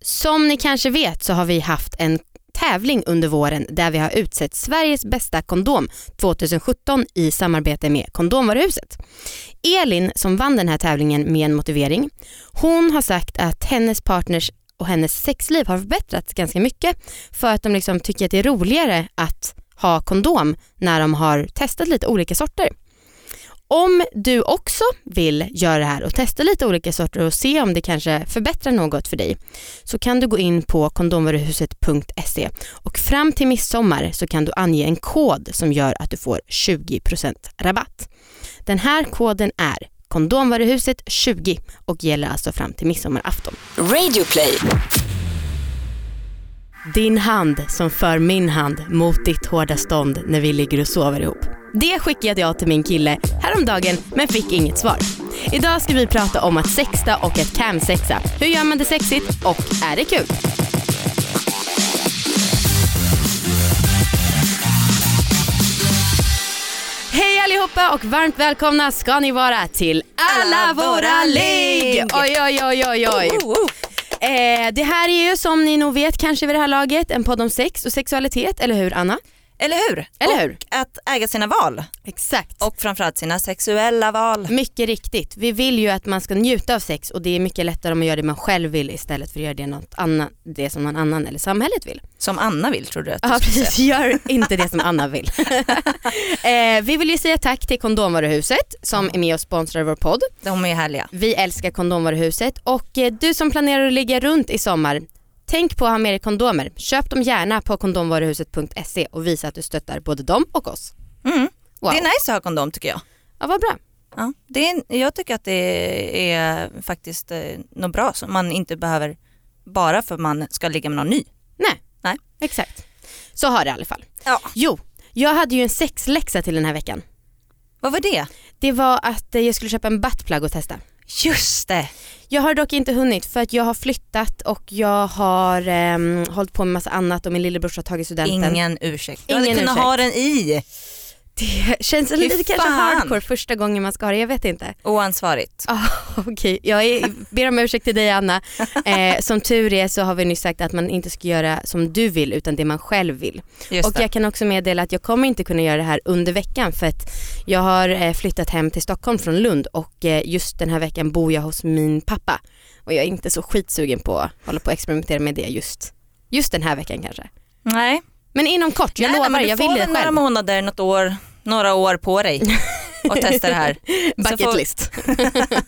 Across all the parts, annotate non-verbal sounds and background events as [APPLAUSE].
Som ni kanske vet så har vi haft en tävling under våren där vi har utsett Sveriges bästa kondom 2017 i samarbete med Kondomvaruhuset. Elin som vann den här tävlingen med en motivering, hon har sagt att hennes partners och hennes sexliv har förbättrats ganska mycket för att de liksom tycker att det är roligare att ha kondom när de har testat lite olika sorter. Om du också vill göra det här och testa lite olika sorter och se om det kanske förbättrar något för dig så kan du gå in på kondomvaruhuset.se och fram till midsommar så kan du ange en kod som gör att du får 20% rabatt. Den här koden är kondomvaruhuset20 och gäller alltså fram till midsommarafton. Radioplay. Din hand som för min hand mot ditt hårda stånd när vi ligger och sover ihop. Det skickade jag till min kille häromdagen men fick inget svar. Idag ska vi prata om att sexta och att camsexa. Hur gör man det sexigt och är det kul? Hej allihopa och varmt välkomna ska ni vara till Alla, Alla våra våra ligg! ligg! Oj, oj, oj, oj, oj. Eh, det här är ju som ni nog vet kanske vid det här laget en podd om sex och sexualitet, eller hur Anna? Eller hur? Eller och hur? att äga sina val Exakt. och framförallt sina sexuella val. Mycket riktigt. Vi vill ju att man ska njuta av sex och det är mycket lättare om man gör det man själv vill istället för att göra det, något annan, det som någon annan eller samhället vill. Som Anna vill tror du att du Ja skulle precis, gör inte [LAUGHS] det som Anna vill. eh, vi vill ju säga tack till Kondomvaruhuset som är med och sponsrar vår podd. säga. De är härliga. Vi älskar Kondomvaruhuset och eh, du som planerar att ligga runt i sommar, tänk på att ha med dig kondomer. Köp dem gärna på kondomvaruhuset.se och visa att du stöttar både dem och oss. Mm. Wow. Det är nice att ha kondom tycker jag. Ja, vad bra. Ja, det är, jag tycker att det är faktiskt eh, något bra som man inte behöver bara för att man ska ligga med någon ny. Nej, Nej. exakt. Så har det i alla fall. Ja. Jo, jag hade ju en sexläxa till den här veckan. Vad var det? Det var att eh, jag skulle köpa en buttplug och testa. Just det! Jag har dock inte hunnit för att jag har flyttat och jag har ehm, hållit på med massa annat och min lillebrors har tagit studenten. Ingen ursäkt. Du hade Ingen kunnat ursäkt. ha den i. Det känns lite kanske fan? hardcore första gången man ska ha det, jag vet inte. Oansvarigt. Ah, Okej, jag är, ber om ursäkt till dig [LAUGHS] Anna. Eh, som tur är så har vi nyss sagt att man inte ska göra som du vill utan det man själv vill. Just och det. jag kan också meddela att jag kommer inte kunna göra det här under veckan för att jag har eh, flyttat hem till Stockholm från Lund och eh, just den här veckan bor jag hos min pappa. Och jag är inte så skitsugen på att hålla på och experimentera med det just, just den här veckan kanske. Nej. Men inom kort, jag Nej, lovar, men du jag får vill det väl några själv. månader, något år, några år [LAUGHS] på dig och testa det här. Så Bucket får- list. [LAUGHS]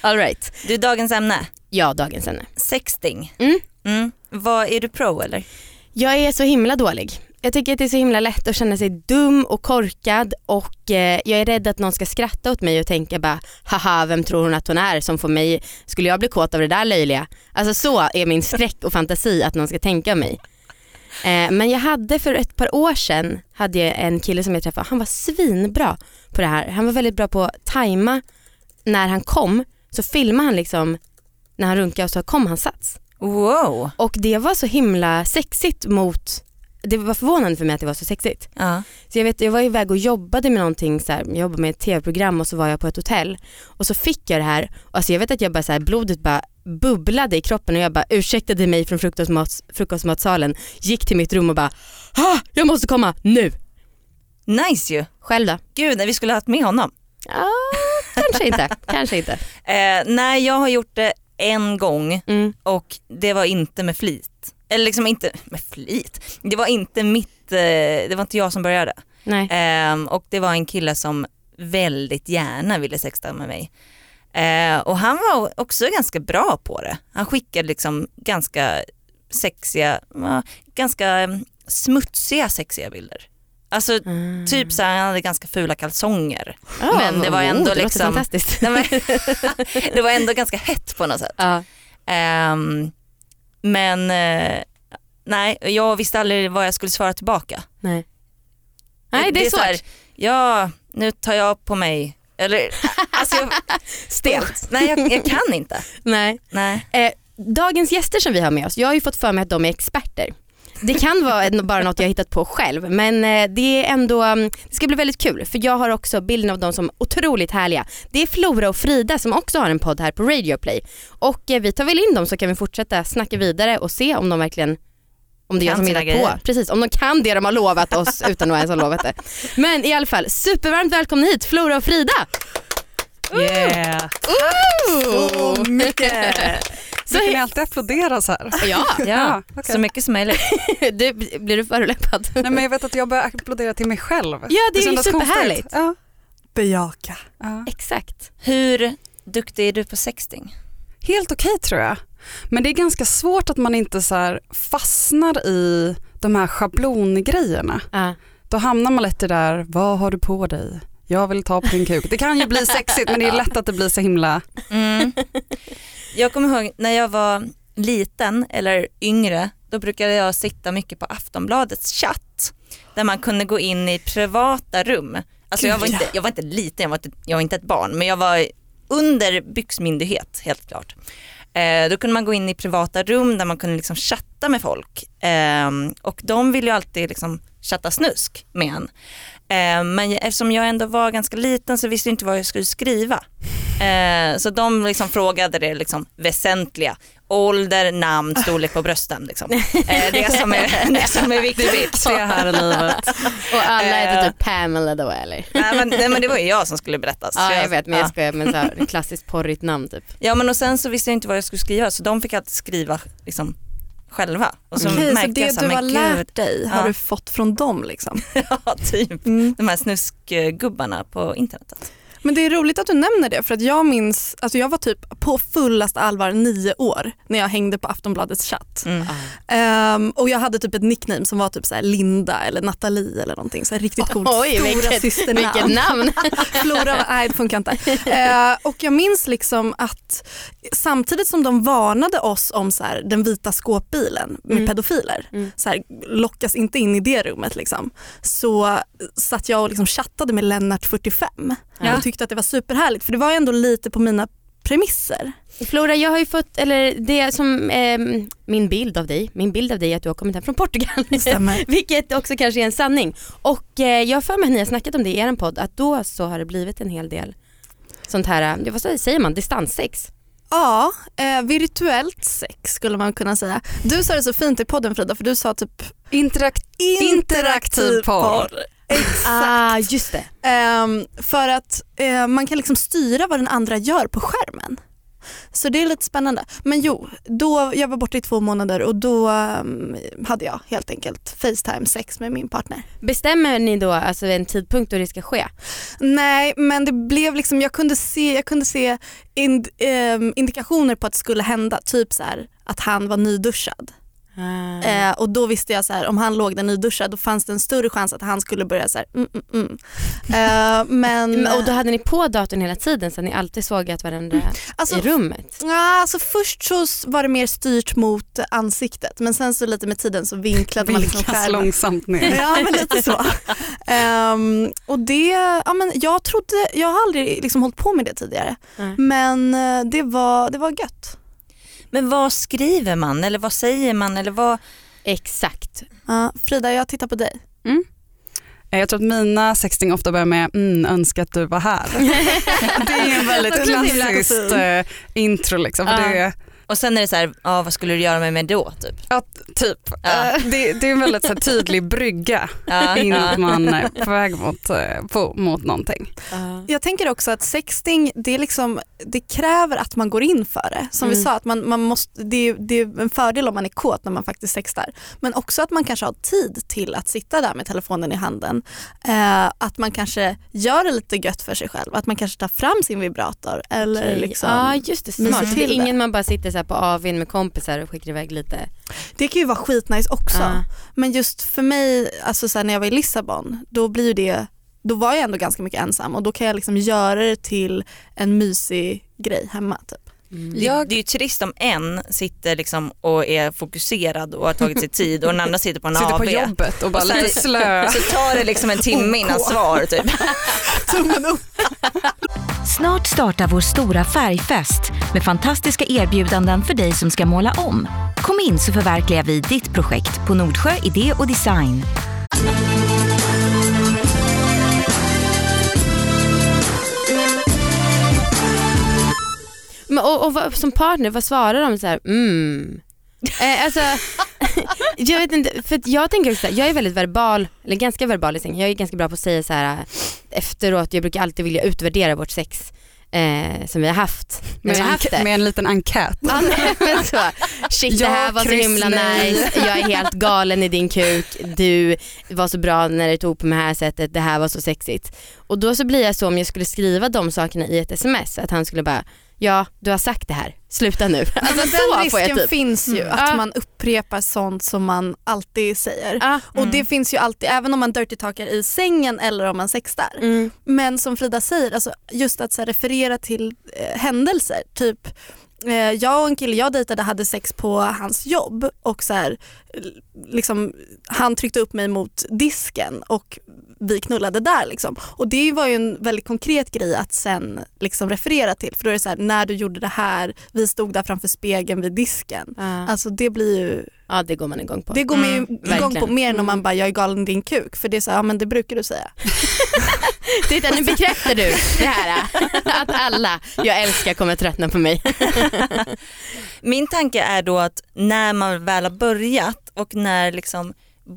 All right. Du, dagens ämne. Ja, dagens ämne. Sexting. Mm. Mm. Vad Är du pro eller? Jag är så himla dålig. Jag tycker att det är så himla lätt att känna sig dum och korkad och eh, jag är rädd att någon ska skratta åt mig och tänka bara haha vem tror hon att hon är som får mig, skulle jag bli kåt av det där löjliga? Alltså så är min skräck och fantasi att någon ska tänka om mig. Eh, men jag hade för ett par år sedan hade jag en kille som jag träffade, han var svinbra på det här. Han var väldigt bra på att tajma när han kom så filmade han liksom när han runkade och så kom han sats. Wow. Och det var så himla sexigt mot, det var förvånande för mig att det var så sexigt. Ja. Så jag, vet, jag var iväg och jobbade med någonting, så här, jag jobbade med ett tv-program och så var jag på ett hotell och så fick jag det här och alltså jag vet att jag bara så här, blodet bara bubblade i kroppen och jag bara ursäktade mig från frukostmats, frukostmatsalen, gick till mitt rum och bara ah, jag måste komma nu. Nice ju. Själv då? Gud, vi skulle ha haft med honom. Ja, kanske inte, [LAUGHS] kanske inte. Eh, nej, jag har gjort det en gång Mm. och det var inte med flit. Eller liksom inte med flit. Det var inte mitt, eh, det var inte jag som började. Nej. Ehm, och det var en kille som väldigt gärna ville sexta med mig. Eh, och han var också ganska bra på det. Han skickade liksom ganska sexiga, ja, ganska mm, smutsiga sexiga bilder. Alltså Mm. typ så här, han hade ganska fula kalsonger. Ja, men det var ändå Ah, oh, det låter liksom- fantastiskt. Nej, men, det var [LAUGHS] ändå ganska hett på något sätt. ja. Ehm, men eh, nej, jag visste aldrig vad jag skulle svara tillbaka. Nej. Nej det är, så här, svårt. ja, nu tar jag på mig. Eller, [LAUGHS] alltså jag, Stelt. nej, jag, jag kan inte. Nej. Nej. Eh, dagens gäster som vi har med oss, jag har ju fått för mig att de är experter. Det kan vara en- bara något jag hittat på själv men eh, det är ändå, mm, det ska bli väldigt kul för jag har också bilden av dem som otroligt härliga. Det är Flora och Frida som också har en podd här på Radio Play och eh, vi tar väl in dem så kan vi fortsätta snacka vidare och se om de verkligen om det är jag som Kan sina hittat på. grejer. Precis, om de kan det de har lovat [LAUGHS] oss utan att ens ha lovat det. Men i alla fall, supervarmt välkomna hit Flora och Frida. Yeah. Oh. mycket. Så, Brukar ni alltid applådera så här? ja, Ja, okej. så mycket som möjligt. [LAUGHS] du, blir du förolämpad? Nej, men jag vet att jag börjar applådera till mig själv. Ja, det är ju kändes superhärligt. konstigt. Ja. Bejaka. Ja. [LAUGHS] Exakt. Hur duktig är du på sexting? Helt okej tror jag. Men det är ganska svårt att man inte så här fastnar i de här schablongrejerna. Ja. Då hamnar man lätt i det där, vad har du på dig? Jag vill ta på din kuk. Det kan ju bli [LAUGHS] sexigt men det är lätt att det blir så himla... Mm. Jag kommer ihåg när jag var liten eller yngre, då brukade jag sitta mycket på Aftonbladets chatt där man kunde gå in i privata rum. Alltså jag, var Gud, ja. inte, jag var inte liten, jag var inte, jag var inte ett barn, men jag var under byxmyndighet helt klart. Eh, då kunde man gå in i privata rum där man kunde liksom chatta med folk eh, och de ville ju alltid liksom chatta snusk med en. Eh, men eftersom jag ändå var ganska liten så visste jag inte vad jag skulle skriva. Eh, så de liksom frågade det liksom väsentliga. Ålder, namn, storlek på brösten. Liksom. Eh, det, som är, det som är viktigt. Det här i livet. Och alla heter Eh. typ Pamela då eller? Nej, men, nej, men det var ju jag som skulle berätta. så Ja jag vet men jag ja. skojar men så här, klassiskt porrigt namn typ. ja men och sen så visste jag inte vad jag skulle skriva så de fick alltid skriva liksom, själva. Och så Okej, Mm. så märkte det jag så här, du har men gud, lärt dig har Ja. du fått från dem liksom? [LAUGHS] ja, typ de här snuskgubbarna på alltså. internetet. Men det är roligt att du nämner det för att jag minns, alltså jag var typ på fullast allvar nio år när jag hängde på Aftonbladets chatt. Mm. Ehm, och jag hade typ ett nickname som var typ så här Linda eller Nathalie eller någonting så här riktigt coolt. Oj, Stora vilket- systernamn. Vilket namn. Flora, nej det funkar inte. Eh, och jag minns liksom att samtidigt som de varnade oss om så här, den vita skåpbilen med Mm. pedofiler, Mm. så här, lockas inte in i det rummet liksom, så satt jag och liksom chattade med Lennart 45 Ja. och tyckte att det var superhärligt för det var ju ändå lite på mina premisser. [LAUGHS] Flora jag har ju fått, eller det som ehm, min bild av dig, min bild av dig är att du har kommit hem från Portugal. [LAUGHS] Stämmer. Vilket också kanske är en sanning. Och eh, jag har för mig att ni har snackat om det i er podd att då så har det blivit en hel del sånt här, eh, vad säger man, distanssex. [LAUGHS] Ja, eh, virtuellt sex skulle man kunna säga. Du sa det så fint i podden Frida för du sa typ Interakt- interaktiv porr. Exakt. Ah, just det. Ehm, för att eh, man kan liksom styra vad den andra gör på skärmen. Så det är lite spännande. Men jo, då, jag var borta i två månader och då ehm, hade jag helt enkelt Facetime-sex med min partner. Bestämmer ni då alltså en tidpunkt då det ska ske? Nej, men det blev liksom, jag kunde se, jag kunde se ind, ehm, indikationer på att det skulle hända. Typ så här, att han var nyduschad. Ah. Eh, och då visste jag så här, om han låg där nyduschad då fanns det en större chans att han skulle börja så här, mm, mm, mm. Eh, [LAUGHS] men, Men, Mm, och då hade ni på datorn hela tiden så att ni alltid såg att varandra alltså, i rummet. Ja, alltså först så s- var det mer styrt mot ansiktet men sen så lite med tiden så vinklade man liksom Vinkas skärmen. långsamt ner. Ja men lite så. Ehm, och det, ja, men jag, trodde, jag har aldrig liksom hållit på med det tidigare Nej. men eh, det var, det var gött. Men vad skriver man eller vad säger man eller vad? Exakt. Ja, Frida jag tittar på dig. Eh, Jag tror att mina sexting ofta börjar med mm, önskar att du [LAUGHS] var här. Det är ju en väldigt Vad kul. klassiskt eh, intro liksom. För Ja. det är, Och sen är det så här, ja, vad skulle du göra med mig då typ? ja, typ. Ja. Eh, Det, det är en väldigt så här, tydlig brygga Ja, [LAUGHS] innan ja. man är på väg mot, eh, på, mot någonting. Jag tänker också att sexting det, är liksom, det kräver att man går in för det. Som Mm. vi sa, att man, man måste, det, är, det är en fördel om man är kåt när man faktiskt sextar. Men också att man kanske har tid till att sitta där med telefonen i handen. Eh, att man kanske gör det lite gött för sig själv. Att man kanske tar fram sin vibrator. Eller Okej. liksom, Ja just det, smart. mysa Så Det är till det. ingen man bara sitter så här på AWn med kompisar och skickar iväg lite. Det kan ju vara skitnice också. Ja. Men just för mig, alltså så här, när jag var i Lissabon, då blir ju det då var jag ändå ganska mycket ensam och då kan jag liksom göra det till en mysig grej hemma. Typ. Det, Jag- det är ju trist om en sitter liksom och är fokuserad och har tagit sig tid och den andra sitter på en Sitter AV. på jobbet och bara Och sen- [LAUGHS] lite slö. Så tar det [LAUGHS] liksom en timme innan svar typ. Tummen upp. Snart startar vår stora färgfest med fantastiska erbjudanden för dig som ska måla om. Kom in så förverkligar vi ditt projekt på Nordsjö Idé och Design. Men, och, och vad, som partner, vad svarar de? Så här, [LAUGHS] mm. Eh, alltså, [LAUGHS] jag vet inte, för att jag tänker också, så här, jag är väldigt verbal, eller ganska verbal i sängen. Jag är ganska bra på att säga så här eh, efteråt, jag brukar alltid vilja utvärdera vårt sex eh, som vi har haft. När Med, vi har en haft det. enkä- med en liten enkät. Ja, nej, men så. Shit det här Ja, var så kryss, himla nej. nice, jag är helt galen i din kuk, du var så bra när du tog på det här sättet, det här var så sexigt. Och då så blir jag så om jag skulle skriva de sakerna i ett sms, att han skulle bara, ja du har sagt det här, sluta nu. Alltså så Den får jag risken typ. finns ju, Mm. Ja. att man upprepar sånt som man alltid säger. Ja. Och det finns ju alltid, även om man dirty talkar i sängen eller om man sextar. Mm. Men som Frida säger, alltså just att så här, referera till eh, händelser. Typ eh, jag och en kille jag dejtade hade sex på hans jobb och så här, l- liksom, han tryckte upp mig mot disken och vi knullade där. Liksom. Och det var ju en väldigt konkret grej att sen liksom, referera till. För då är det så här, när du gjorde det här, vi stod där framför spegeln vid disken. Ja. Alltså det blir ju ja det går man igång på. det går man ju igång verkligen. Mm. på mer än om man bara jag är galen i din kuk för det är så här, ja men det brukar du säga. Titta nu bekräftar du det här, att alla jag älskar kommer tröttna på mig. Min tanke är då att när man väl har börjat och när liksom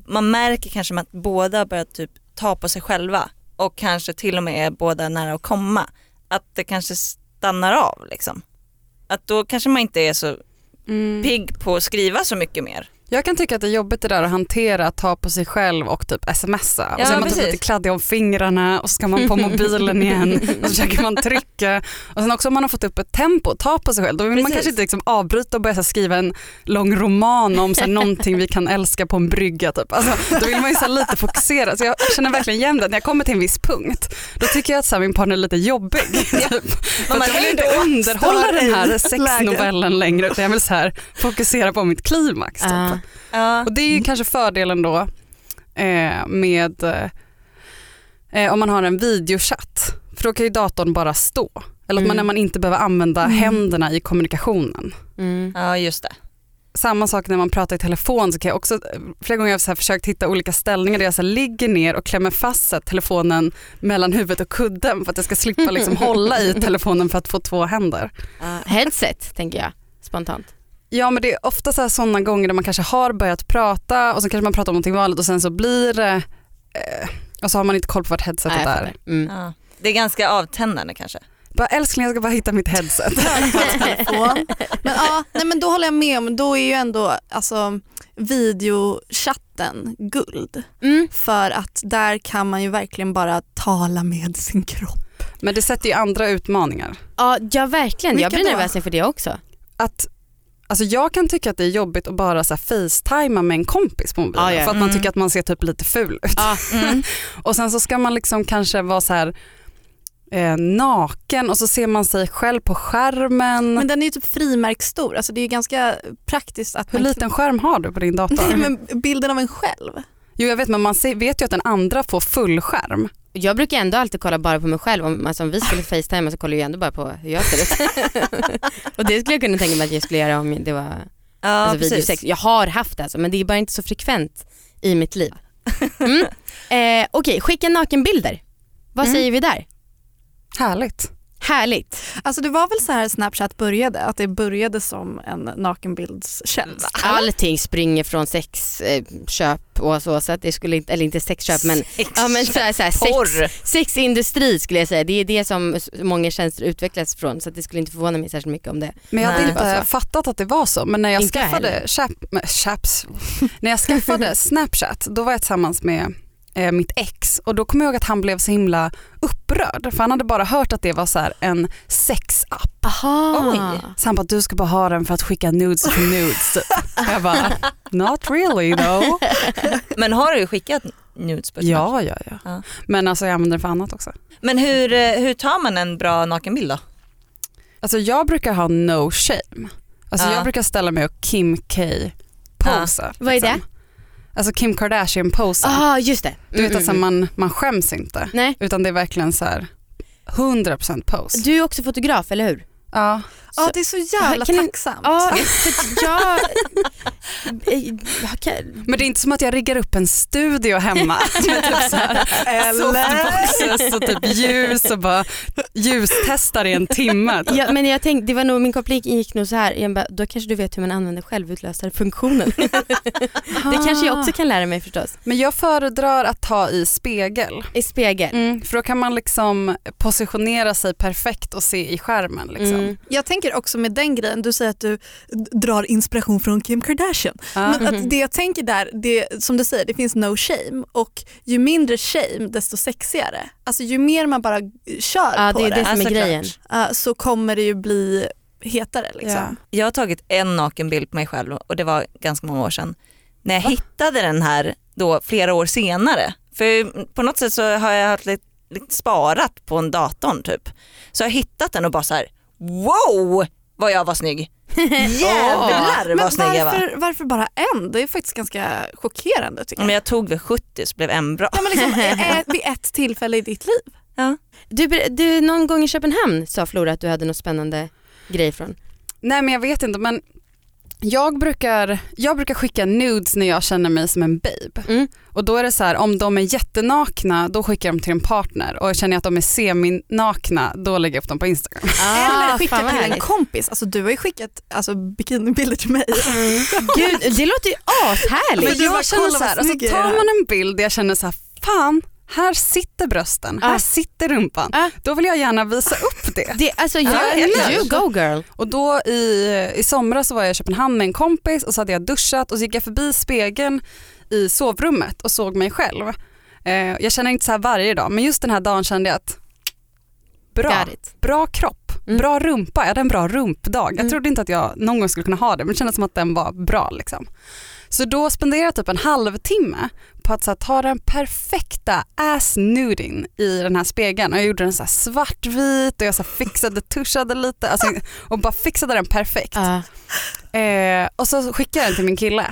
man märker kanske att båda har börjat typ ta på sig själva och kanske till och med är båda nära att komma, att det kanske stannar av liksom. Att då kanske man inte är så pigg på att skriva så mycket mer. Jag kan tycka att det är jobbigt det där att hantera, att ta på sig själv och typ smsa. och Ja, så är man typ precis. lite kladdig om fingrarna och så ska man på mobilen igen och så försöker man trycka. Och sen också om man har fått upp ett tempo, ta på sig själv. Då vill man Precis. kanske inte liksom avbryta och börja så här skriva en lång roman om så här någonting vi kan älska på en brygga. Typ. Alltså, då vill man ju så här lite fokusera. Så jag känner verkligen igen det. När jag kommer till en viss punkt, då tycker jag att så här min partner är lite jobbig. Typ. För att jag vill inte underhålla den här sexnovellen längre utan jag vill så här fokusera på mitt klimax. Typ. Ja. Ja. Och det är ju kanske fördelen då eh, med eh, om man har en videochatt. För då kan ju datorn bara stå. Eller att Mm. man, när man inte behöver använda händerna i kommunikationen. Mm. ja, just det. Samma sak när man pratar i telefon. Så kan jag också, flera gånger har jag så här försökt hitta olika ställningar där jag så här ligger ner och klämmer fast så här telefonen mellan huvudet och kudden för att jag ska slippa liksom hålla i telefonen för att få två händer. Headset tänker jag spontant. Ja men det är ofta så här sådana gånger där man kanske har börjat prata och så kanske man pratar om någonting vanligt och sen så blir det eh, och så har man inte koll på vart headsetet Nej, jag är. fattar. Mm. Ja. Det är ganska avtändande kanske. Bara älskling jag ska bara hitta mitt [LAUGHS] headset. telefon. Men, ja, nej, men då håller jag med om, då är ju ändå alltså, videochatten guld. Mm. För att där kan man ju verkligen bara tala med sin kropp. Men det sätter ju andra utmaningar. Ja, ja verkligen, jag Vilka blir då? nervös inför det också. Att, alltså jag kan tycka att det är jobbigt att bara så här facetima med en kompis på mobilen Ah, Ja, Ah, mm. ja. för att man Mm. tycker att man ser typ lite ful ut. Ja. [LAUGHS] Och sen så ska man liksom kanske vara så här eh, naken och så ser man sig själv på skärmen. Men den är ju typ frimärksstor, alltså det är ju ganska praktiskt att Hur man liten skärm har du på din dator? [LAUGHS] Nej, men bilden av en själv. Jo jag vet men man ser, vet ju att den andra får full skärm. Jag brukar ändå alltid kolla bara på mig själv. Om, alltså, om vi skulle facetima så kollar jag ändå bara på hur jag ser ut. och det skulle jag kunna tänka mig att jag skulle göra om det var Ja, alltså, precis. videosex. Jag har haft det alltså, men det är bara inte så frekvent i mitt liv. Mm. Eh, Okej, skicka nakenbilder. Vad Mm. säger vi där? Härligt. Härligt. Alltså det var väl så här Snapchat började, att det började som en nakenbildstjänst. Mm. Allting springer från sexköp och så, så att det skulle inte, eller inte sexköp men, ja, men så här, så här, sex, Porr. sexindustri skulle jag säga. Det är det som s- många tjänster utvecklas från så att det skulle inte förvåna mig särskilt mycket om det. Men jag hade Nej. Det var inte så. fattat att det var så. Men när jag alltså. Inte jag skaffade, heller. chap, men chaps, [LAUGHS] när [LAUGHS] jag skaffade Snapchat då var jag tillsammans med eh, mitt ex och då kommer jag ihåg att han blev så himla upprörd för han hade bara hört att det var så här en sexapp. Aha. Oj. Så han bara du ska bara ha den för att skicka nudes till [LAUGHS] nudes. typ. jag bara not really though. Men har du skickat nudes på Snapchat? Ja, ja, ja. Ja. Men alltså jag använder den för annat också. Men hur, eh, hur tar man en bra nakenbild då? Alltså jag brukar ha no shame. Alltså Ja. jag brukar ställa mig och Kim K posa. Vad är det? Alltså Kim Kardashian posa. Ja, just det. Du vet Mm, alltså mm, man, man skäms inte mm. Nej. utan det är verkligen så här 100% pose. Du är också fotograf, eller hur? Ja. Ja, det är så jävla Kan ni- tacksamt. Ja, för att [LAUGHS] jag... Eh, jag kan- Men det är inte som att jag riggar upp en studio [LAUGHS] hemma med typ så här softboxes och typ ljus och bara ljustestar i en timme. Typ. Ja, men jag tänkte, det var nog, min koppling gick nog så här. Jag bara, då kanske du vet hur man använder självutlösarfunktionen. [LAUGHS] det kanske jag också kan lära mig förstås. Ah. Men jag föredrar att ta i spegel. I spegel. Mm, För då kan man liksom positionera sig perfekt och se i skärmen. Liksom. Mm. Jag tänker också med den grejen, du säger att du d- drar inspiration från Kim Kardashian. Ja. Men att det jag tänker där, det, som du säger, det finns no shame och ju mindre shame desto sexigare. Alltså ju mer man bara kör Ja, på det är det, det som är såklart. grejen. eh, så kommer det ju bli hetare. Liksom. Jag har tagit en nakenbild på mig själv och det var ganska många år sedan. När jag hittade den här då flera år senare. För på något sätt så har jag haft lite, lite sparat på en datorn typ. Så jag har hittat den och bara så här wow vad jag var snygg. Jävlar Men vad snygg jag var. varför, varför bara en? Det är faktiskt ganska chockerande tycker Men jag. jag tog vid 70 så blev en bra. Ja, men liksom, eh, eh, vid ett tillfälle i ditt liv. Du, ber- du, någon gång i Köpenhamn sa Flora att du hade något spännande grej från. Nej men jag vet inte men jag brukar, jag brukar skicka nudes när jag känner mig som en babe. Mm. Och då är det så här, om de är jättenakna då skickar jag dem till en partner och känner jag att de är seminakna då lägger jag upp dem på Instagram. Eller skicka Ah, fan vad till en härligt. kompis. Alltså, du har ju skickat alltså, bikinibilder till mig. Gud, det låter ju Men ashärligt. du bara, jag känner "Kolla så här, vad alltså, snygg jag tar är." man en bild där jag känner så här, fan här sitter brösten, Ja. här sitter rumpan. Ja. Då vill jag gärna visa upp det. Ah, Det, alltså, jag, eller? you go girl. Och då i, i somras så var jag i Köpenhamn med en kompis och så hade jag duschat och så gick jag förbi spegeln i sovrummet och såg mig själv. Eh, jag känner inte så här varje dag men just den här dagen kände jag att bra, Got it. bra kropp, Mm. bra rumpa, jag hade en bra rumpdag. Jag Mm. trodde inte att jag någon gång skulle kunna ha det men det kändes som att den var bra. Liksom. Så då spenderade jag typ en halvtimme på att så här, ta den perfekta ass nudin i den här spegeln och jag gjorde den så här svartvit och jag så här, fixade, tuschade [LAUGHS] lite alltså, och bara fixade den perfekt. Ja. Eh, och så skickade jag den till min kille.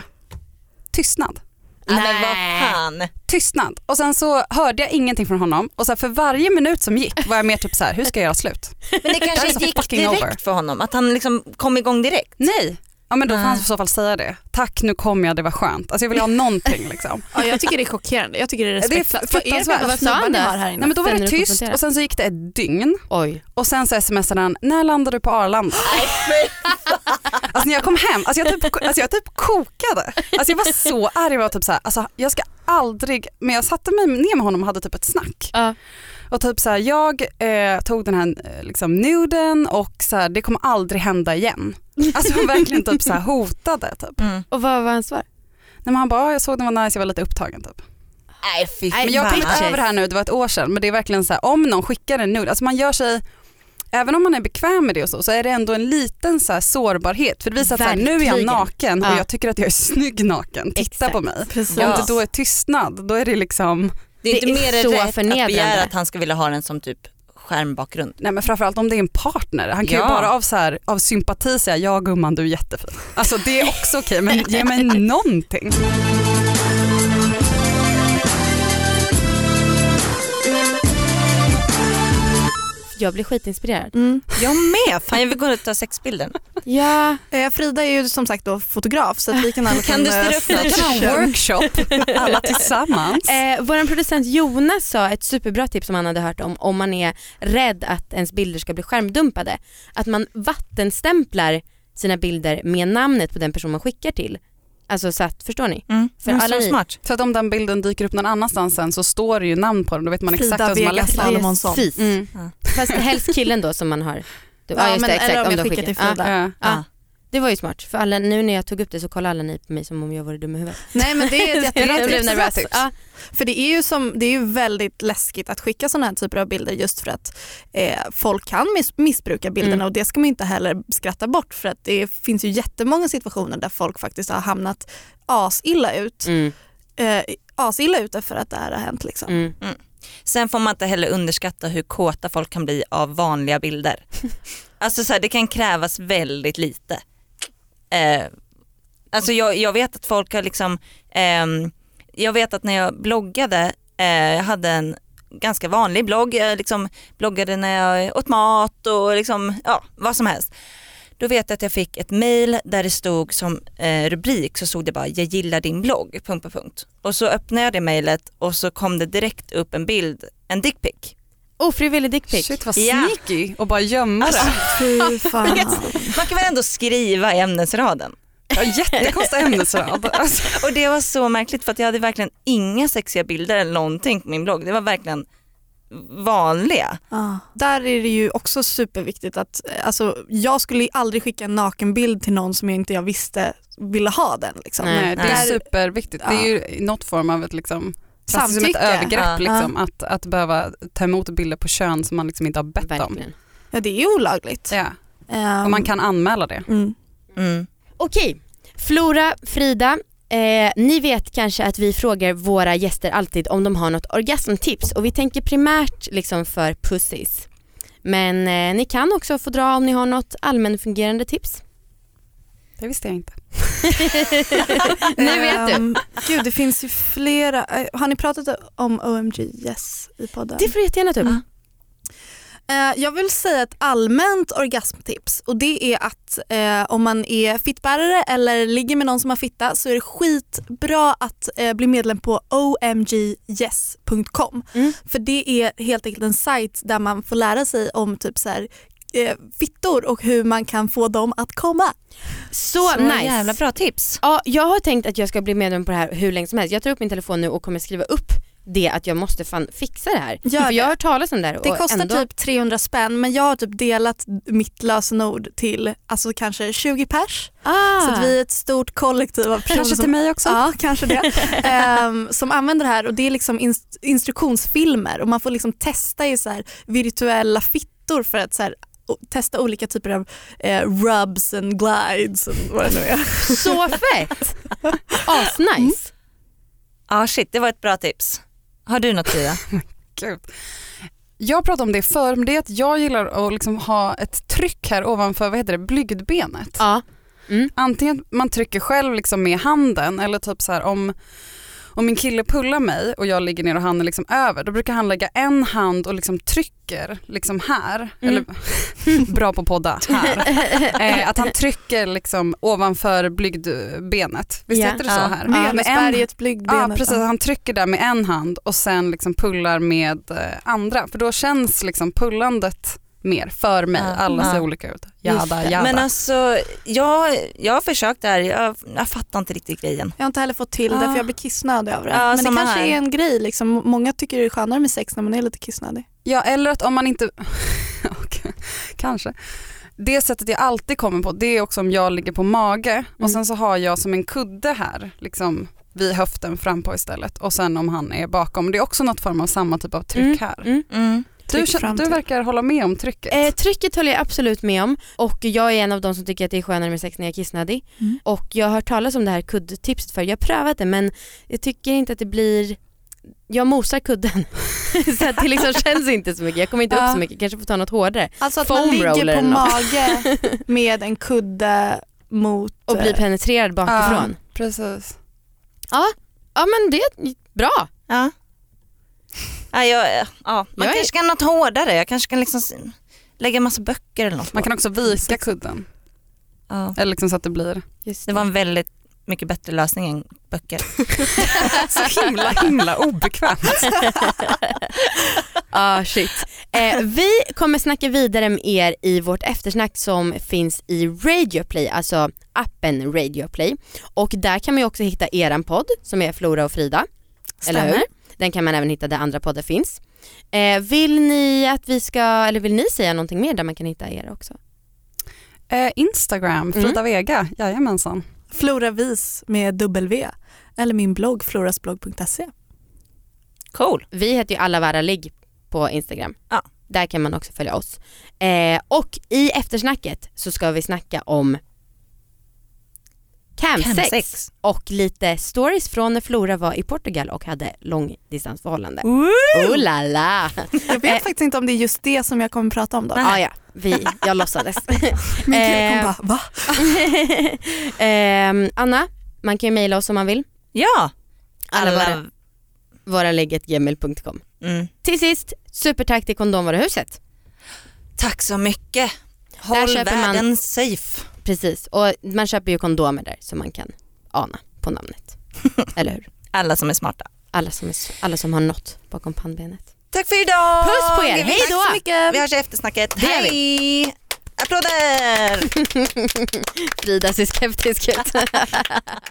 Tystnad. Ja, Men vad Nej. fan. Tystnad. Och sen så hörde jag ingenting från honom och så här, för varje minut som gick var jag mer typ så här, hur ska jag göra slut? Men det That's kanske so gick fucking direkt over. för honom. Att han liksom kom igång direkt. Nej. Ja men då får Ah. han i så fall säga det. Tack nu kom jag, det var skönt. Alltså jag vill [LAUGHS] ha någonting liksom. Ja, jag tycker det är chockerande. Jag tycker det är Det är respektlöst. Vad är det fruktansvärt. för Vad sa han snubbar där? ni har här Nej inne? men då var Sen är det du tyst konfronterad. och sen så gick det ett dygn Oj. och sen så smsade han, när landar du på Arlanda? Alltså när jag kom hem, alltså jag, typ, alltså jag typ kokade. Alltså jag var så arg, jag var typ så här, alltså jag ska aldrig, men jag satte mig ner med honom och hade typ ett snack. Ja. Och typ så här, jag eh, tog den här eh, liksom, nuden och så här, det kommer aldrig hända igen. Alltså jag var verkligen typ så här hotade. Typ. Mm. Och vad var hans svar? Nej, men han bara, "Ah, jag såg den var nice, jag var lite upptagen typ. Nej fy Nej, Men jag har Fan. kommit över det här nu, det var ett år sedan, men det är verkligen så här, om någon skickar en nude, alltså man gör sig, även om man är bekväm med det och så, så är det ändå en liten så här sårbarhet. För det visar att så här, nu är jag Verkligen. naken och Ja. jag tycker att jag är snygg naken, titta Exakt. på mig. Precis. Om det då är tystnad, då är det liksom, Det är Det inte är mer så rätt att förnedrande. begära att han ska vilja ha den som typ skärmbakgrund. nej men framförallt om det är en partner, han kan Ja. ju bara av, så här, av sympati säga ja gumman du är jättefin. Alltså det är också okej, men [LAUGHS] ge mig någonting. Jag blir skitinspirerad. Mm. Jag med, fan jag vill gå ut och ta sexbilden. Ja, Eh, Frida är ju som sagt då fotograf så att vi kan alla Kan du styra upp Vi kan ha en work? workshop, alla tillsammans. eh, vår producent Jonas sa ett superbra tips som han hade hört om om man är rädd att ens bilder ska bli skärmdumpade. Att man vattenstämplar sina bilder med namnet på den person man skickar till. Alltså så att, förstår ni? Mm. För För alla så ni- smart. Så att om den bilden dyker upp någon annanstans sen så står det ju namn på den, då vet man exakt Frida vem som har Vegas läst den. Salomonsson. Precis. Mm. Fast helst killen då som man har. Du, Ja, men- eller om du jag har skickar till skickat. Ja, Frida. Ja. ja. Det var ju smart. För alla, nu när jag tog upp det så kollade alla ni på mig som om jag vore dum i huvudet. Nej [LAUGHS] men det är ett jättebra Jag blev tips. nervös. Ja. För det är, ju som, det är ju väldigt läskigt att skicka sådana här typer av bilder just för att eh, folk kan miss, missbruka bilderna Mm. och det ska man ju inte heller skratta bort för att det finns ju jättemånga situationer där folk faktiskt har hamnat asilla ut. Mm, Mm. Eh, asilla ute för att det här har hänt liksom. mm. Sen får man inte heller underskatta hur kåta folk kan bli av vanliga bilder. Alltså så här, det kan krävas väldigt lite. Eh, alltså jag, jag vet att folk har liksom, ehm, jag vet att när jag bloggade, eh, jag hade en ganska vanlig blogg, jag liksom bloggade när jag åt mat och liksom, ja, vad som helst. Då vet jag att jag fick ett mail där det stod som eh, rubrik så stod det bara jag gillar din blogg, punkt, punkt, punkt. Och så öppnade jag det mejlet och så kom det direkt upp en bild, en dickpic. Ofrivillig dickpic. Shit vad Ja. sneaky och bara gömma det. [LAUGHS] Fy fan. Man kan väl ändå skriva i ämnesraden. [LAUGHS] Ja, jättekonstig ämnesrad. Alltså, Och det var så märkligt för att jag hade verkligen inga sexiga bilder eller någonting på min blogg. Det var verkligen vanliga. Ja. Där är det ju också superviktigt att eh, alltså, jag skulle aldrig skicka en nakenbild till någon som jag inte jag visste ville ha den. Liksom. Nej, nej, det är nej. superviktigt. Det är ju något form av ett liksom, klassiskt som ett Samtycke. övergrepp Ja. liksom, att, att behöva ta emot bilder på kön som man liksom inte har bett om. Verkligen. Ja, det är olagligt. Ja. Ehm, Och man kan anmäla det. [LAUGHS] mm. Mm. Okej, Flora, Frida. Eh, ni vet kanske att vi frågar våra gäster alltid om de har något orgasmtips och vi tänker primärt liksom för pussies. Men eh, ni kan också få dra om ni har något allmänfungerande tips. [LAUGHS] Det visste jag inte. nu vet du. Ehm, Gud, det finns ju flera. Eh, Har ni pratat om OMG Yes i podden? Det får du jättegärna ta upp. Eh, Jag vill säga ett allmänt orgasmtips och det är att eh, om man är fittbärare eller ligger med någon som har fitta så är det skitbra att eh, bli medlem på omgyes.com. Mm. För det är helt enkelt en sajt där man får lära sig om typ så här, eh, fittor och hur man kan få dem att komma. Så, nice. jävla bra tips. Ja, jag har tänkt att jag ska bli medlem på det här hur länge som helst. Jag tar upp min telefon nu och kommer skriva upp det att jag måste fan fixa det här. Gör För jag det. har hört talas om det här Det och kostar ändå... typ 300 spänn men jag har typ delat mitt lösenord till alltså kanske 20 pers. Ah. Så att vi är ett stort kollektiv av personer Kanske som till mig också. Ja, kanske det. [LAUGHS] Ehm, som använder det här och det är liksom inst- instruktionsfilmer och man får liksom testa i så här virtuella fittor för att så här, o- testa olika typer av eh, rubs and glides och vad det nu är. Så [LAUGHS] fett! Asnice. Mm. Ja shit, det var ett bra tips. Har du något Frida? Gud. Jag pratade om det förr, men det är att jag gillar att liksom ha ett tryck här ovanför vad heter det, blygdbenet. Ja. Antingen man trycker själv liksom med handen eller typ så här om, om min kille pullar mig och jag ligger ner och han är liksom över, då brukar han lägga en hand och liksom trycker liksom här. Mm. Eller, [LAUGHS] bra på podda, här. Eh, att han trycker liksom ovanför blygdbenet. Visst Ja. heter det Ja. så här? Med en Venusberget, Ja blygdbenet. precis, han trycker där med en hand och sen liksom pullar med eh, andra för då känns liksom pullandet mer för mig. Ja. Alla ser Ja. olika ut. Just Jada, det. jada. Men alltså jag, jag har försökt det här, jag, jag fattar inte riktigt grejen. Jag har inte heller fått till det Ja. för jag blir kissnödig av det. Ja, Men det samma kanske här. är en grej. Liksom. Många tycker det är skönare med sex när man är lite kissnödig. Ja eller att om man inte, [LAUGHS] Okej, kanske. Det sättet jag alltid kommer på det är också om jag ligger på mage Mm. och sen så har jag som en kudde här liksom vid höften fram på istället och sen om han är bakom. Det är också något form av samma typ av tryck Mm, här. mm. Mm. Du, Tryck kän- fram du till. verkar hålla med om trycket. Eh, trycket håller jag absolut med om och jag är en av de som tycker att det är skönare med sex när jag är kissnödig. Mm. Och jag har hört talas om det här kuddtipset för. jag har prövat det men jag tycker inte att det blir, jag mosar kudden. [LAUGHS] så att det liksom känns inte så mycket, jag kommer inte upp Ja. så mycket, kanske får ta något hårdare. Alltså att Foam man roller ligger på eller något. mage [LAUGHS] med en kudde mot... Och bli eh, penetrerad bakifrån. Precis. Ja men det är bra. Ja. Ja, jag, ja. Man Jag är- kanske kan något hårdare, jag kanske kan liksom s- lägga en massa böcker eller något. Man kan också vika kudden. ja. Eller liksom så att det [LAUGHS] blir Just Det var en väldigt mycket bättre lösning än böcker. så himla himla obekvämt. Ah, shit. Eh, vi kommer snacka vidare med er i vårt eftersnack som finns i Radioplay, alltså appen Radioplay. Och där kan man ju också hitta eran podd som är Flora och Frida. Eller hur? Den kan man även hitta där andra poddar finns. Eh, vill ni att vi ska, eller vill ni säga någonting mer där man kan hitta er också? Eh, Mm. Instagram, Frida Vega, jajamensan. Flora Vis med W eller min blogg florasblogg.se. Cool. Vi heter ju alla värda ligg på Instagram. Ja. Där kan man också följa oss. Eh, och i eftersnacket så ska vi snacka om Camsex. Camsex. Och lite stories från när Flora var i Portugal och hade långdistansförhållande. Oh la [LAUGHS] la! Jag vet faktiskt inte om det är just det som jag kommer prata om då. Ah, ja, vi, jag låtsades. [LAUGHS] Min eh, kille kommer bara va? [LAUGHS] Ehm, Anna, man kan ju mejla oss om man vill. Ja, Alla alla... Våra gmail.com. Mm. Till sist, supertack till Kondomvaruhuset. Tack så mycket. Håll köper man- världen safe. Precis, och man köper ju kondomer där så man kan ana på namnet. Eller hur? Alla som är smarta. Alla som, är, alla som har något bakom pannbenet. [LAUGHS] Tack för idag. Puss på er, hej Tack då. så mycket. Vi hörs i eftersnacket. Det gör vi. Hej. Applåder. Frida ser skeptisk ut.